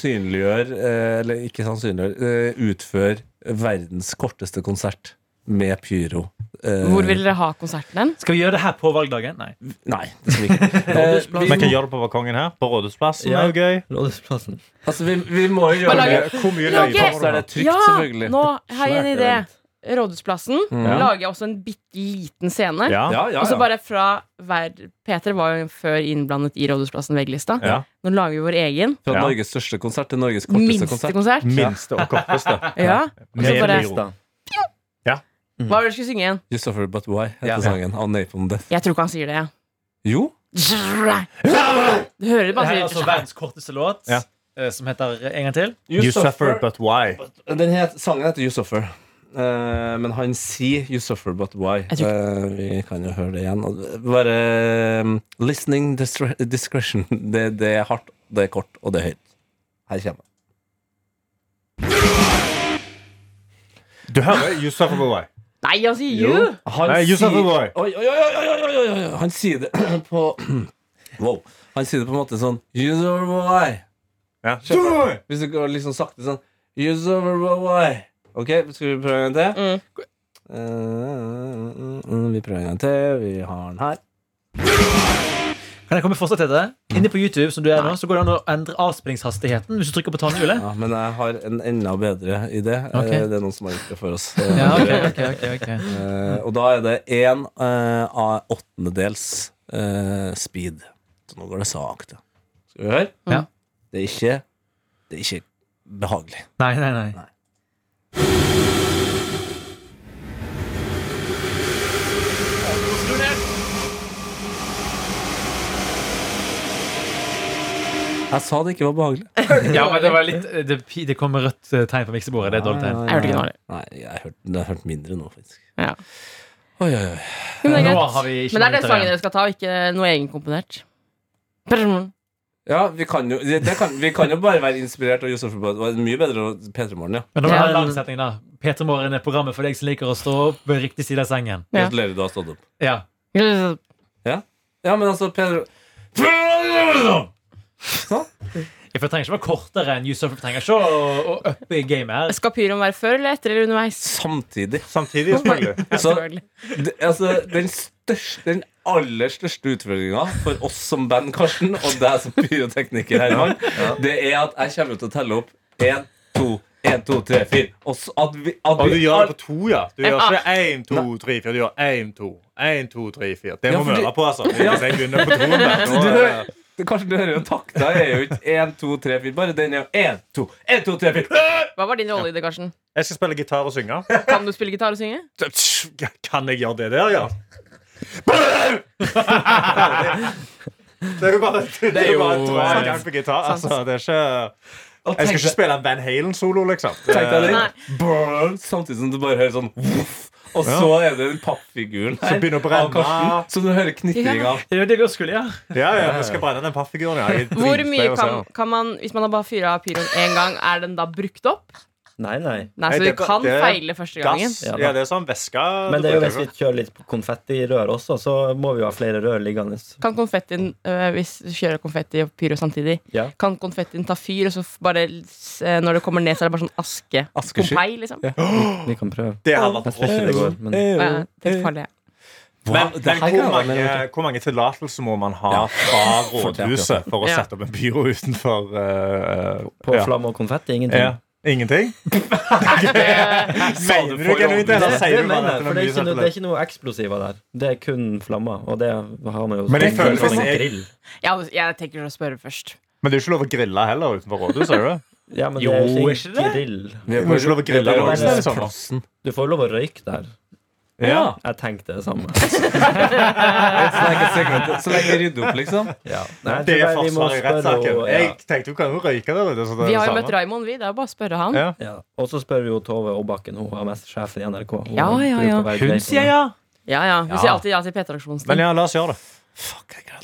[SPEAKER 5] sannsynliggjøre, eh, eller ikke sannsynliggjøre, eh, utføre verdens korteste konsert med pyro? Eh,
[SPEAKER 3] Hvor vil dere ha konserten hen?
[SPEAKER 2] Skal vi gjøre det her på valgdagen? Nei.
[SPEAKER 5] Nei, det skal vi ikke. Eh,
[SPEAKER 7] Rådhusplassen.
[SPEAKER 6] vi kan gjøre det på balkongen her, på Rådhusplassen.
[SPEAKER 7] Ja.
[SPEAKER 6] Det er jo gøy.
[SPEAKER 7] Rådhusplassen.
[SPEAKER 5] altså, vi, vi må jo gjøre
[SPEAKER 3] Bare
[SPEAKER 5] det.
[SPEAKER 3] lage-
[SPEAKER 6] Hvor mye
[SPEAKER 3] Lage-
[SPEAKER 6] løyper
[SPEAKER 5] Så
[SPEAKER 6] må
[SPEAKER 5] er
[SPEAKER 6] du
[SPEAKER 5] det
[SPEAKER 6] ha?
[SPEAKER 5] trygt, selvfølgelig.
[SPEAKER 3] nå har jeg en idé.
[SPEAKER 7] Svært
[SPEAKER 3] Rådhusplassen lager jeg også en bitte liten scene.
[SPEAKER 6] Ja.
[SPEAKER 5] Ja, ja,
[SPEAKER 3] Og så
[SPEAKER 5] ja.
[SPEAKER 3] bare fra hver Peter var jo før innblandet i Rådhusplassen VG-lista.
[SPEAKER 6] Ja.
[SPEAKER 3] Nå lager vi vår egen.
[SPEAKER 5] Fra
[SPEAKER 6] Ja.
[SPEAKER 5] Norges største konsert til Norges korteste
[SPEAKER 3] Minste
[SPEAKER 5] konsert.
[SPEAKER 3] konsert.
[SPEAKER 6] Minste og korteste.
[SPEAKER 3] Ja. Og så
[SPEAKER 6] Med
[SPEAKER 3] bare
[SPEAKER 6] pyro.
[SPEAKER 3] Hva var det du skulle synge igjen?
[SPEAKER 5] Christopher But Why heter
[SPEAKER 7] Ja.
[SPEAKER 5] sangen av Napalm Death.
[SPEAKER 3] Jeg tror ikke han sier det. jeg.
[SPEAKER 5] Jo,
[SPEAKER 3] Du hører det
[SPEAKER 2] Det
[SPEAKER 3] bare
[SPEAKER 2] her er
[SPEAKER 3] han
[SPEAKER 2] altså
[SPEAKER 3] sier
[SPEAKER 2] verdens korteste låt,
[SPEAKER 6] Ja.
[SPEAKER 2] eh, som heter en gang til.
[SPEAKER 6] You suffer, but why?
[SPEAKER 5] Den het, sangen heter You Suffer. Eh, men han sier You Suffer But Why.
[SPEAKER 3] Jeg tror
[SPEAKER 5] Eh, vi kan jo høre det igjen. Og det- Bare um, listening distre- discretion. Det, det er hardt, det er kort, og det er høyt. Her kommer det.
[SPEAKER 6] Du hører You suffer, but why?
[SPEAKER 3] Nei, han sier you!
[SPEAKER 5] Han
[SPEAKER 6] Nei, You Suffer But Why.
[SPEAKER 5] Oi, oi, oi, oi, oi, oi, oi, oi. Han sier det på Wow. Han sier det på en måte sånn You Suffer But Why.
[SPEAKER 6] Ja. Suffer, but why?
[SPEAKER 5] Hvis du går liksom sakte sånn You suffer but why Ok, skal vi prøve en gang til?
[SPEAKER 3] Mm.
[SPEAKER 5] Eh, mm, mm, mm, vi prøver en gang til. Vi har den her.
[SPEAKER 2] Kan jeg komme med forslag til det? Inne på YouTube som du er nå, så går det an å endre avspillingshastigheten hvis du trykker på tannhjulet.
[SPEAKER 5] Ja, men jeg har en enda bedre idé. Eh,
[SPEAKER 2] Ok.
[SPEAKER 5] Det er noen som har gjort det for oss.
[SPEAKER 2] Ja, ok, ok, ok, ok.
[SPEAKER 5] Eh, og da er det én av åttendedels eh, speed. Så nå går det sakte. Skal vi høre?
[SPEAKER 2] Ja.
[SPEAKER 5] Det er ikke Det er ikke behagelig.
[SPEAKER 2] Nei, nei, nei.
[SPEAKER 5] Jeg sa det ikke var behagelig.
[SPEAKER 2] Ja, men det, var litt, det, det kom med rødt eh, tegn på miksebordet. Det er et dårlig tegn.
[SPEAKER 3] Jeg hørte ikke noe av det.
[SPEAKER 5] Nei, jeg hørte, jeg hørte mindre nå, faktisk.
[SPEAKER 3] Ja.
[SPEAKER 5] Oi, oi, oi.
[SPEAKER 3] Men det er
[SPEAKER 2] Nå
[SPEAKER 3] greit.
[SPEAKER 2] har vi ikke
[SPEAKER 3] Men det er
[SPEAKER 2] noe
[SPEAKER 3] den sangen
[SPEAKER 2] igjen.
[SPEAKER 3] dere skal ta, og ikke noe egenkomponert. Brr.
[SPEAKER 5] Ja, vi kan jo, det det kan, vi kan jo bare være inspirert av Josef Robot. Det var mye bedre å P3 Morgen, ja.
[SPEAKER 2] Men da må vi ha en
[SPEAKER 3] Ja.
[SPEAKER 2] lang setning, da. Peter Morgen er programmet for deg som liker å stå opp på riktig side av sengen.
[SPEAKER 3] Ja.
[SPEAKER 5] Gratulerer, du har stått opp.
[SPEAKER 2] Ja.
[SPEAKER 5] Ja, men altså, Pedro
[SPEAKER 2] For det trenger ikke være kortere enn You Suffer. Det trenger ikke å, å uppe i gamet her.
[SPEAKER 3] Skal pyroen være før eller etter eller underveis?
[SPEAKER 5] Samtidig.
[SPEAKER 6] Samtidig, selvfølgelig.
[SPEAKER 5] Så
[SPEAKER 3] Selvfølgelig.
[SPEAKER 5] det, altså, den største Den aller største utfordringa for oss som band, Karsten, og deg som pyrotekniker, Herman, det er at jeg kommer til å telle opp én, to, én, to, tre, fire. Og så at vi, at
[SPEAKER 6] Og du
[SPEAKER 5] vi
[SPEAKER 6] gjør
[SPEAKER 5] all-
[SPEAKER 6] det på to, ja. Du gjør ikke én, to, tre, fire. Du gjør én, to, én, to, tre, fire. Det
[SPEAKER 5] Ja,
[SPEAKER 6] må vi
[SPEAKER 5] fordi-
[SPEAKER 6] øve på, altså. Hvis jeg begynner på toen der,
[SPEAKER 5] Du
[SPEAKER 6] nå
[SPEAKER 5] hører- Karsten, du hører jo takta er jo ikke én, to, tre, fire. Bare den er jo én, to, én, to, tre, fire.
[SPEAKER 3] Hva var din rolle i det, Karsten?
[SPEAKER 6] Jeg skal spille gitar og synge.
[SPEAKER 3] Kan du spille gitar og synge?
[SPEAKER 6] Kan jeg gjøre det der, ja? Det er jo bare, det er jo bare å dra i gang på gitar. Altså, det er ikke
[SPEAKER 5] Og
[SPEAKER 6] Jeg skal
[SPEAKER 5] tenk
[SPEAKER 6] ikke
[SPEAKER 5] deg-
[SPEAKER 6] spille en Van Halen-solo, liksom.
[SPEAKER 5] tenk deg det.
[SPEAKER 3] Nei.
[SPEAKER 5] Brrr, Samtidig som du bare hører sånn voff, Og så er det den pappfiguren her
[SPEAKER 6] Som begynner å
[SPEAKER 5] av
[SPEAKER 6] brenne.
[SPEAKER 5] Karsten som du hører knitring av.
[SPEAKER 2] Det er jo det vi også skulle gjøre.
[SPEAKER 6] Eh, Ja, ja, vi skal brenne den pappfiguren. Ja. Jeg er
[SPEAKER 3] Hvor
[SPEAKER 6] dritspent
[SPEAKER 3] mye
[SPEAKER 6] å se
[SPEAKER 3] kan,
[SPEAKER 6] den.
[SPEAKER 3] kan man Hvis man har bare fyra av pyroen én gang, er den da brukt opp?
[SPEAKER 7] Nei, nei.
[SPEAKER 3] Nei,
[SPEAKER 6] Nei,
[SPEAKER 3] så du
[SPEAKER 6] det kan-
[SPEAKER 3] kan
[SPEAKER 6] det er
[SPEAKER 3] feile første gangen.
[SPEAKER 6] Gass.
[SPEAKER 7] Ja, da.
[SPEAKER 6] Ja, det er sånn væske.
[SPEAKER 7] Men det er jo hvis vi kjører litt konfettirør også, så må vi jo ha flere rør liggende.
[SPEAKER 3] Kan konfettien, øh, hvis du kjører konfetti og pyro samtidig,
[SPEAKER 7] Ja.
[SPEAKER 3] kan konfettien ta fyr, og så f- bare s- eh, når det kommer ned, så er det bare sånn aske?
[SPEAKER 5] Askesky.
[SPEAKER 3] Pompei, liksom?
[SPEAKER 5] Ja.
[SPEAKER 7] Vi kan prøve.
[SPEAKER 6] Det hadde vært
[SPEAKER 7] Jeg tror ikke det går, men
[SPEAKER 3] Ja, ja, det er farlig.
[SPEAKER 6] Men,
[SPEAKER 7] Det her
[SPEAKER 6] men
[SPEAKER 7] kan
[SPEAKER 6] hvor,
[SPEAKER 7] være
[SPEAKER 6] mange,
[SPEAKER 7] mellom-
[SPEAKER 6] hvor mange tillatelser må man ha fra
[SPEAKER 5] for det er
[SPEAKER 6] rådhuset for å
[SPEAKER 3] Ja.
[SPEAKER 6] sette opp en pyro utenfor eh,
[SPEAKER 7] På
[SPEAKER 6] ja.
[SPEAKER 7] flamme og konfetti, ingenting.
[SPEAKER 6] Ja. Ingenting? Mener du
[SPEAKER 5] for
[SPEAKER 6] genuint
[SPEAKER 7] Det,
[SPEAKER 6] det, eller
[SPEAKER 7] det,
[SPEAKER 6] sier du
[SPEAKER 7] mener
[SPEAKER 6] bare
[SPEAKER 7] jeg,
[SPEAKER 6] at
[SPEAKER 7] for det er
[SPEAKER 6] det er
[SPEAKER 7] ikke noe,
[SPEAKER 6] mye
[SPEAKER 7] det er ikke noe eksplosiver der. Det er kun flammer, og det har man jo
[SPEAKER 6] Men jeg
[SPEAKER 7] som-
[SPEAKER 6] føler
[SPEAKER 7] som
[SPEAKER 6] hvis
[SPEAKER 7] en
[SPEAKER 6] jeg-
[SPEAKER 7] grill.
[SPEAKER 3] Ja, altså, jeg tenker å spørre først.
[SPEAKER 6] Men det er jo ikke lov å grille heller utenfor rådhuset? er det?
[SPEAKER 7] Ja, men
[SPEAKER 2] Jo,
[SPEAKER 7] det er
[SPEAKER 2] er
[SPEAKER 7] jo
[SPEAKER 2] ikke
[SPEAKER 7] ikke
[SPEAKER 2] det?
[SPEAKER 7] grill.
[SPEAKER 6] Du må ikke lov å grille
[SPEAKER 5] Det er
[SPEAKER 6] rådhuset i sommer.
[SPEAKER 5] Plassen.
[SPEAKER 7] Du får jo lov å røyke der.
[SPEAKER 6] Ja.
[SPEAKER 7] Jeg tenkte det samme.
[SPEAKER 5] Så lenge, sikkerhet- så lenge jeg rydder opp, liksom.
[SPEAKER 7] Ja. Nei, jeg
[SPEAKER 6] Det
[SPEAKER 7] tror
[SPEAKER 6] er
[SPEAKER 7] bare vi må spørre
[SPEAKER 6] forsvaret i rettssaken.
[SPEAKER 7] og-
[SPEAKER 6] Jeg
[SPEAKER 7] ja.
[SPEAKER 6] tenkte du kan jo røyke der ute. så det er
[SPEAKER 3] Vi har jo
[SPEAKER 6] det
[SPEAKER 3] møtt
[SPEAKER 6] samme.
[SPEAKER 3] Raimond, vi. Det er jo bare å spørre han.
[SPEAKER 6] Ja.
[SPEAKER 7] Ja. Og så spør vi jo Tove Aabakken, hun er mest sjef i NRK. Hun
[SPEAKER 3] Ja, ja,
[SPEAKER 7] bruker
[SPEAKER 3] ja.
[SPEAKER 7] å være grei på det.
[SPEAKER 2] ja.
[SPEAKER 3] Ja, ja. Hun
[SPEAKER 2] Ja.
[SPEAKER 3] sier alltid ja til P3-aksjonen.
[SPEAKER 6] Men ja, la oss gjøre det.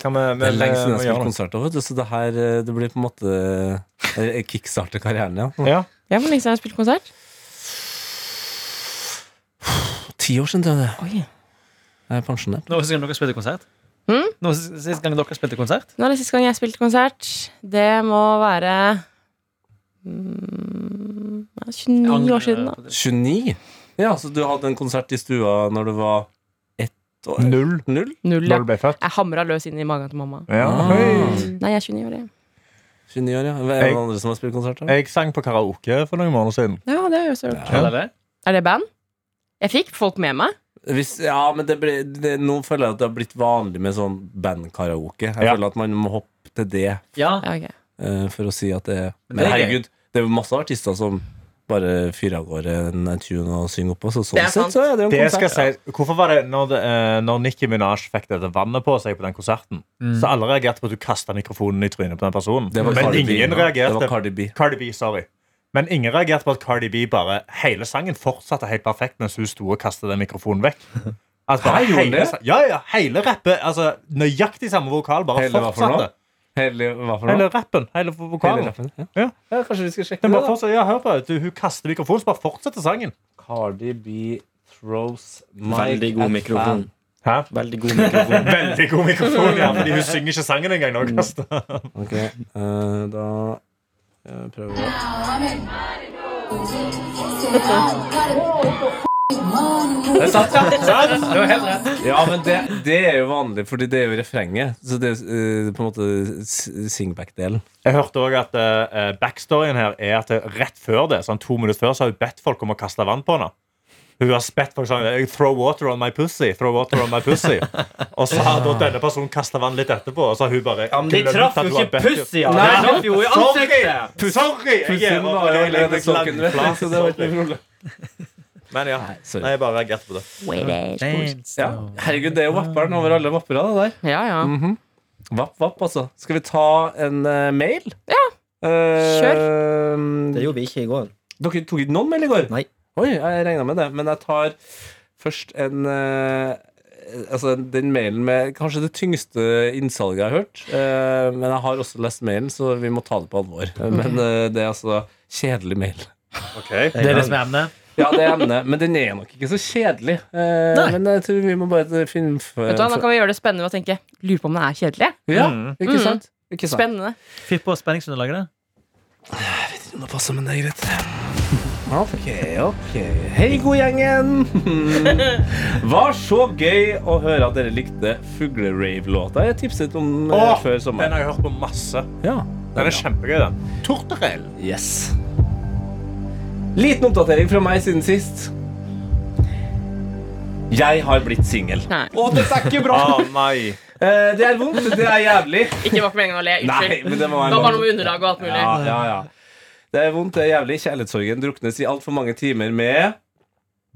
[SPEAKER 6] Kan vi,
[SPEAKER 5] Det er
[SPEAKER 6] men,
[SPEAKER 5] lenge siden jeg
[SPEAKER 6] eh, må
[SPEAKER 5] har
[SPEAKER 6] gjøre
[SPEAKER 5] spilt
[SPEAKER 6] det.
[SPEAKER 5] konserter, vet du, så det her eh, det blir på en måte eh, kickstarter karrieren igjen.
[SPEAKER 6] Ja.
[SPEAKER 3] Ja, Hvor lenge siden har du spilt konsert?
[SPEAKER 5] Ti år siden, tror jeg det.
[SPEAKER 3] Oi.
[SPEAKER 5] Jeg er pensjonert.
[SPEAKER 2] Nå var sist gang dere spilte konsert?
[SPEAKER 3] Hmm?
[SPEAKER 2] Nå var sist- sist gang dere spilte konsert?
[SPEAKER 3] Nå er det siste gang jeg spilte konsert. Det må være mm, ja, 29 år siden, da.
[SPEAKER 5] 29? Ja, så du hadde en konsert i stua når du var ett år?
[SPEAKER 6] Null
[SPEAKER 5] Null?
[SPEAKER 3] Null,
[SPEAKER 6] da
[SPEAKER 3] ja.
[SPEAKER 6] du ble født.
[SPEAKER 3] Jeg hamra løs inn i magen til mamma.
[SPEAKER 6] Ja.
[SPEAKER 5] Ah.
[SPEAKER 6] Hei.
[SPEAKER 3] Nei, jeg er 29 år, jeg.
[SPEAKER 5] 29 år, ja. Hvem er
[SPEAKER 6] Jeg-
[SPEAKER 5] det andre som har spilt konsert? da?
[SPEAKER 6] Jeg sang på karaoke for noen måneder siden.
[SPEAKER 3] Ja, det har jeg også gjort.
[SPEAKER 2] Ja. Eller det?
[SPEAKER 3] Er det band? Jeg fikk folk med meg.
[SPEAKER 5] Hvis, ja, men det ble, det, nå føler jeg at det har blitt vanlig med sånn bandkaraoke. Jeg
[SPEAKER 6] Ja.
[SPEAKER 5] føler at man må hoppe til det
[SPEAKER 2] Ja.
[SPEAKER 3] Ja, ok.
[SPEAKER 5] eh, for å si at det
[SPEAKER 2] Men det
[SPEAKER 5] Men
[SPEAKER 2] er gøy.
[SPEAKER 5] herregud, det er jo masse artister som bare fyrer av gårde en en tune og synger oppå, så sånn
[SPEAKER 3] Det er sant.
[SPEAKER 5] sett så er det jo en
[SPEAKER 6] Det skal
[SPEAKER 5] konsert.
[SPEAKER 6] jeg si, Hvorfor var det når, det, eh, når Nicki Minaj fikk dette vannet på seg på den konserten, så alle reagerte på at du kasta mikrofonen i trynet på den personen.
[SPEAKER 5] Mm. Det var
[SPEAKER 6] Men
[SPEAKER 5] Cardi B,
[SPEAKER 6] ingen
[SPEAKER 5] ja. Det var
[SPEAKER 6] reagerte.
[SPEAKER 5] Cardi B.
[SPEAKER 6] Cardi B, sorry. Men ingen reagerte på at Cardi B bare Hele sangen fortsatte helt perfekt mens hun sto og kastet den mikrofonen vekk. Altså,
[SPEAKER 5] Hæ,
[SPEAKER 6] bare
[SPEAKER 5] gjorde
[SPEAKER 6] hele,
[SPEAKER 5] det?
[SPEAKER 6] sa- ja, ja, hele rappet, altså nøyaktig samme vokal, bare
[SPEAKER 5] Hele hva for noe?
[SPEAKER 6] fortsatte.
[SPEAKER 5] Hele, hva for
[SPEAKER 6] Hele
[SPEAKER 5] noe?
[SPEAKER 6] rappen. Hele vokalen.
[SPEAKER 5] rappen, ja.
[SPEAKER 6] Ja.
[SPEAKER 5] ja, kanskje vi skal sjekke
[SPEAKER 6] Den
[SPEAKER 5] det, da.
[SPEAKER 6] bare fortsatte, ja, hør på det. Du, Hun kaster mikrofonen, så bare fortsetter sangen.
[SPEAKER 5] Cardi B throws
[SPEAKER 7] Veldig god mikrofon.
[SPEAKER 6] Hæ?
[SPEAKER 7] Veldig god mikrofon.
[SPEAKER 6] Veldig god mikrofon, ja, fordi hun synger ikke sangen engang. når hun kaster.
[SPEAKER 5] Ok, eh, da eh, prøver vi Det er sant, ja. Ja, men det, det er jo vanlig, fordi det er jo refrenget. Så det er eh, på en måte s- singback-delen.
[SPEAKER 6] Jeg hørte også at eh, backstoryen her er at eh, rett før det, sånn to minutter før, så har hun bedt folk om å kaste vann på henne. Hun har bedt folk sånn eh, Throw water on my pussy. Throw water on my pussy. Og så har da denne personen kastet vann litt etterpå, og så har hun bare glemt at hun har bedt-
[SPEAKER 7] ja! De traff jo i ansiktet!
[SPEAKER 6] Sorry! Jeg gir opp, jeg legger meg langt flat.
[SPEAKER 5] Så det var ikke noe problem.
[SPEAKER 6] Men ja. Nei,
[SPEAKER 5] Sorry.
[SPEAKER 6] jeg bare reagerte på det.
[SPEAKER 3] Wait a minute.
[SPEAKER 5] Ja. Herregud, det er jo vapperen over alle vapper av det der. Mhm.
[SPEAKER 3] Ja, ja.
[SPEAKER 5] Vapp, vapp, altså. Skal vi ta en eh, mail? Eh, mm,
[SPEAKER 3] Ja.
[SPEAKER 5] Kjør.
[SPEAKER 7] Det gjorde vi ikke i går.
[SPEAKER 5] Dere tok ikke noen mail i går?
[SPEAKER 7] Nei.
[SPEAKER 5] Oi, jeg regna med det. Men jeg tar først en eh, Altså den mailen med kanskje det tyngste innsalget jeg har hørt. Eh, men jeg har også lest mailen, så vi må ta det på alvor. Eh, Men eh, det er altså kjedelig mail.
[SPEAKER 6] Ok.
[SPEAKER 2] Det er det som er emnet.
[SPEAKER 5] Ja, det er emnet, men den er nok ikke så kjedelig. Eh, men jeg tror vi må bare finne
[SPEAKER 3] Vet du hva, Nå kan vi gjøre det spennende ved å tenke Lurer på om det er kjedelig.
[SPEAKER 5] Ja, ikke
[SPEAKER 3] Mm.
[SPEAKER 5] sant? Ikke sant?
[SPEAKER 3] Spennende.
[SPEAKER 2] Fiff på spenningsunderlaget, det.
[SPEAKER 5] Nå passer, men det er greit. Ok, ok. Hei, god gjengen! Var så gøy å høre at dere likte Fuglerave-låta jeg tipset om eh,
[SPEAKER 6] Åh,
[SPEAKER 5] før
[SPEAKER 6] Den
[SPEAKER 5] sommeren.
[SPEAKER 6] har jeg hørt på masse.
[SPEAKER 5] Ja,
[SPEAKER 6] Den er kjempegøy, den. Torterell.
[SPEAKER 5] Yes. Liten oppdatering fra meg siden sist. Jeg har blitt singel.
[SPEAKER 3] Nei.
[SPEAKER 5] Å, dette er ikke bra!
[SPEAKER 6] Å nei.
[SPEAKER 5] Eh, Det er vondt, det er jævlig.
[SPEAKER 3] Ikke bak meningen å le.
[SPEAKER 5] Nei,
[SPEAKER 3] Unnskyld.
[SPEAKER 5] men det må være
[SPEAKER 3] Det var bare
[SPEAKER 5] lov.
[SPEAKER 3] noe med underlag og alt mulig.
[SPEAKER 5] Ja, ja, ja. Det er vondt, det er jævlig. Kjærlighetssorgen druknes i altfor mange timer med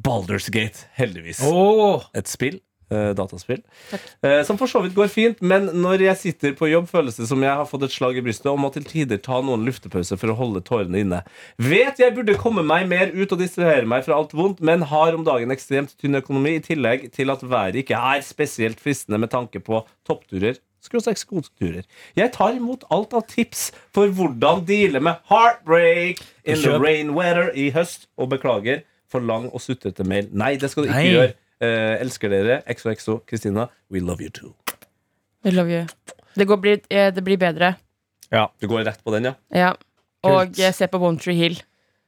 [SPEAKER 5] Baldersgate, heldigvis.
[SPEAKER 2] Åh,
[SPEAKER 5] Et spill eh, dataspill. Eh, som for så vidt går fint, men når jeg sitter på jobb, føles det som jeg har fått et slag i brystet og må til tider ta noen luftepauser for å holde tårene inne. Vet jeg burde komme meg mer ut og distrahere meg fra alt vondt, men har om dagen ekstremt tynn økonomi, i tillegg til at været ikke er spesielt fristende med tanke på toppturer. skråstrek skogturer. Jeg tar imot alt av tips for hvordan deale med heartbreak in the
[SPEAKER 2] Kjøp.
[SPEAKER 5] rain weather i høst, og beklager for lang og suttete mail. Nei, det skal du ikke
[SPEAKER 2] Nei.
[SPEAKER 5] gjøre. Eh, elsker dere. XOXO, Kristina. We love you too.
[SPEAKER 3] I love you. Det, går, blir, eh, det blir bedre.
[SPEAKER 5] Du går rett på den, ja?
[SPEAKER 3] Ja.
[SPEAKER 5] Kult.
[SPEAKER 3] Og eh, se på One Tree Hill.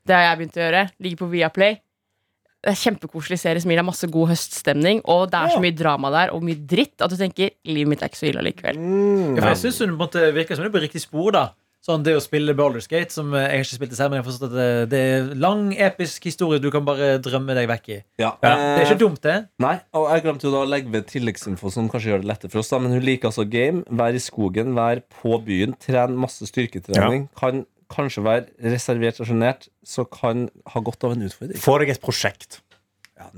[SPEAKER 3] Det har jeg begynt å gjøre. Ligger på Viaplay. Det er Kjempekoselig serie som gir deg masse god høststemning. Og det er så mye drama der og mye dritt at du tenker livet mitt er ikke så ille likevel.
[SPEAKER 5] Mm.
[SPEAKER 2] Ja, for jeg synes hun på en måte virker som hun er på riktig spor. da Sånn Det å spille Baldur's Gate, som eh, jeg har ikke spilte selv, men jeg har forstått at det, det er lang, episk historie du kan bare drømme deg vekk i.
[SPEAKER 5] Ja. Eh,
[SPEAKER 2] Det er ikke dumt, det.
[SPEAKER 5] Nei, og jeg glemte jo da å legge ved tilleggsinfo som kanskje gjør det lettere for oss, da, men hun liker altså game, være i skogen, være på byen, trene masse styrketrening, kan kanskje være reservert og sjenert, så kan ha godt av en utfordring.
[SPEAKER 6] Få deg et prosjekt.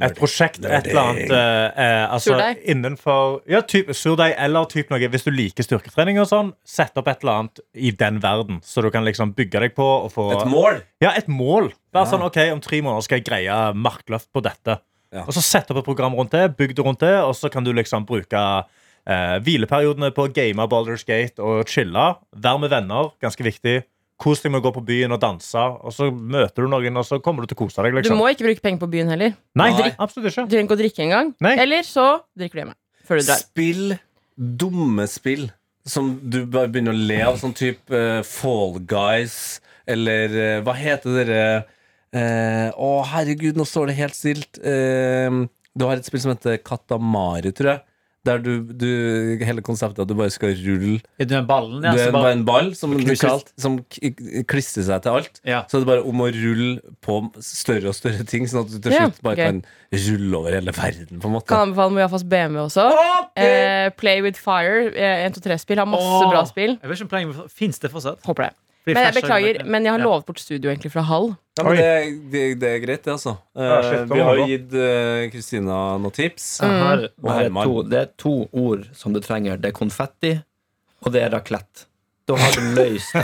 [SPEAKER 6] Et prosjekt, et eller annet eh, eh, altså,
[SPEAKER 3] Surdeig?
[SPEAKER 6] innenfor ja, typ, Surdeig eller typ noe. Hvis du liker styrketrening og sånn, sett opp et eller annet i den verden, så du kan liksom bygge deg på og få
[SPEAKER 5] Et mål!
[SPEAKER 6] Ja, et mål. Vær sånn, ok, Om tre måneder skal jeg greie markløft på dette.
[SPEAKER 5] Ja.
[SPEAKER 6] Og så Sett opp et program rundt det, bygg det rundt det, og så kan du liksom bruke eh, hvileperiodene på å game Baldur's Gate og chille. Vær med venner, ganske viktig. Kos deg med å gå på byen og danse, og så møter du noen, og så kommer du til å kose deg.
[SPEAKER 3] Du
[SPEAKER 6] liksom
[SPEAKER 3] må ikke bruke penger på byen heller.
[SPEAKER 6] Nei,
[SPEAKER 5] Nei.
[SPEAKER 6] absolutt ikke.
[SPEAKER 3] Du trenger ikke å drikke engang.
[SPEAKER 6] Nei.
[SPEAKER 3] Eller så drikker du hjemme. Før du drar.
[SPEAKER 5] Spill dumme spill som du bare begynner å le av, sånn type Fall Guys, eller eh, hva heter dere Eh, Å, herregud, nå står det helt stilt. Eh, du har et spill som heter Katamari, tror jeg. Der du, du Hele konseptet er at du bare skal rulle
[SPEAKER 2] Er du den ballen? Ja,
[SPEAKER 5] Du er
[SPEAKER 2] så
[SPEAKER 5] bare
[SPEAKER 2] bare,
[SPEAKER 5] en ball som,
[SPEAKER 2] knuser
[SPEAKER 5] du kan-
[SPEAKER 2] alt.
[SPEAKER 5] som k- klistrer seg til alt.
[SPEAKER 2] Ja.
[SPEAKER 5] Så er det bare om å rulle på større og større ting, sånn at du til
[SPEAKER 3] Ja,
[SPEAKER 5] slutt bare
[SPEAKER 3] gøy.
[SPEAKER 5] kan rulle over hele verden, på en måte.
[SPEAKER 3] Kan anbefale Mojafas BMW også. Eh, Play with Fire. Eh, 1-2-3-spill. Har masse
[SPEAKER 2] Åh.
[SPEAKER 3] bra spill.
[SPEAKER 2] jeg vet ikke om playing Fins det fortsatt?
[SPEAKER 3] Håper det.
[SPEAKER 2] Fordi
[SPEAKER 3] Men jeg
[SPEAKER 2] Flash har jo-
[SPEAKER 3] beklager, men jeg har
[SPEAKER 2] Ja.
[SPEAKER 3] lovet bort studio egentlig fra Hall.
[SPEAKER 5] Ja, men
[SPEAKER 6] Oi.
[SPEAKER 5] det, det, det er greit, det, altså.
[SPEAKER 6] Ja, shit,
[SPEAKER 5] Eh,
[SPEAKER 6] kom
[SPEAKER 5] vi har jo
[SPEAKER 6] an, da.
[SPEAKER 5] gitt eh, Kristina noen tips.
[SPEAKER 7] Her,
[SPEAKER 5] Og
[SPEAKER 7] her er
[SPEAKER 5] Herman.
[SPEAKER 7] to, det er to ord som du trenger. Det er konfetti, og det er raclette. Da har du løst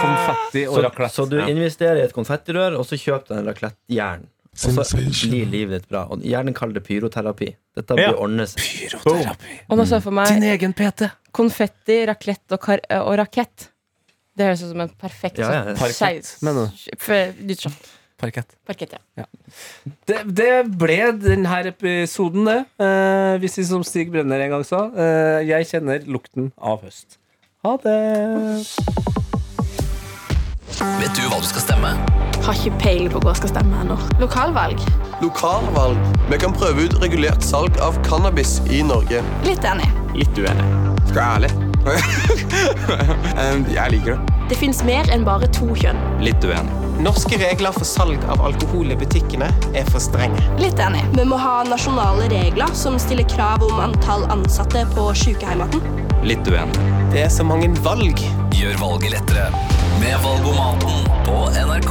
[SPEAKER 5] Konfetti og
[SPEAKER 7] Så,
[SPEAKER 5] raclette.
[SPEAKER 7] så du investerer i et konfettirør, og så kjøper du en raclette-jern. Og så blir livet ditt bra. Og gjerne kall det pyroterapi. Dette blir
[SPEAKER 6] Ja.
[SPEAKER 7] ordne seg.
[SPEAKER 5] Pyroterapi.
[SPEAKER 3] Og nå ser jeg for meg
[SPEAKER 5] Din egen PT.
[SPEAKER 3] konfetti, raclette og, kar eh, og rakett. Det høres ut som en perfekt
[SPEAKER 7] Ja, ja, ja.
[SPEAKER 5] Parkett,
[SPEAKER 3] saus-
[SPEAKER 5] mener
[SPEAKER 3] f- Dyrt sånn.
[SPEAKER 5] Parkett.
[SPEAKER 3] Parkett, ja.
[SPEAKER 5] Det, det ble denne episoden, det. Eh, hvis vi som Stig Brenner en gang sa, eh, jeg kjenner lukten av høst. Ha det.
[SPEAKER 1] Vet du hva du skal stemme?
[SPEAKER 4] Har ikke peiling på hva jeg skal stemme ennå. Lokalvalg.
[SPEAKER 8] Lokalvalg. Vi kan prøve ut regulert salg av cannabis i Norge.
[SPEAKER 4] Litt enig.
[SPEAKER 8] Skal jeg være ærlig? Em, jeg liker det.
[SPEAKER 4] Det fins mer enn bare to kjønn.
[SPEAKER 9] Norske regler for salg av alkohol i butikkene er for strenge.
[SPEAKER 4] Litt enig. Vi må ha nasjonale regler som stiller krav om antall ansatte på sykehjemmene.
[SPEAKER 9] Det er så mange valg.
[SPEAKER 1] Gjør valget lettere med Valgomaten på NRK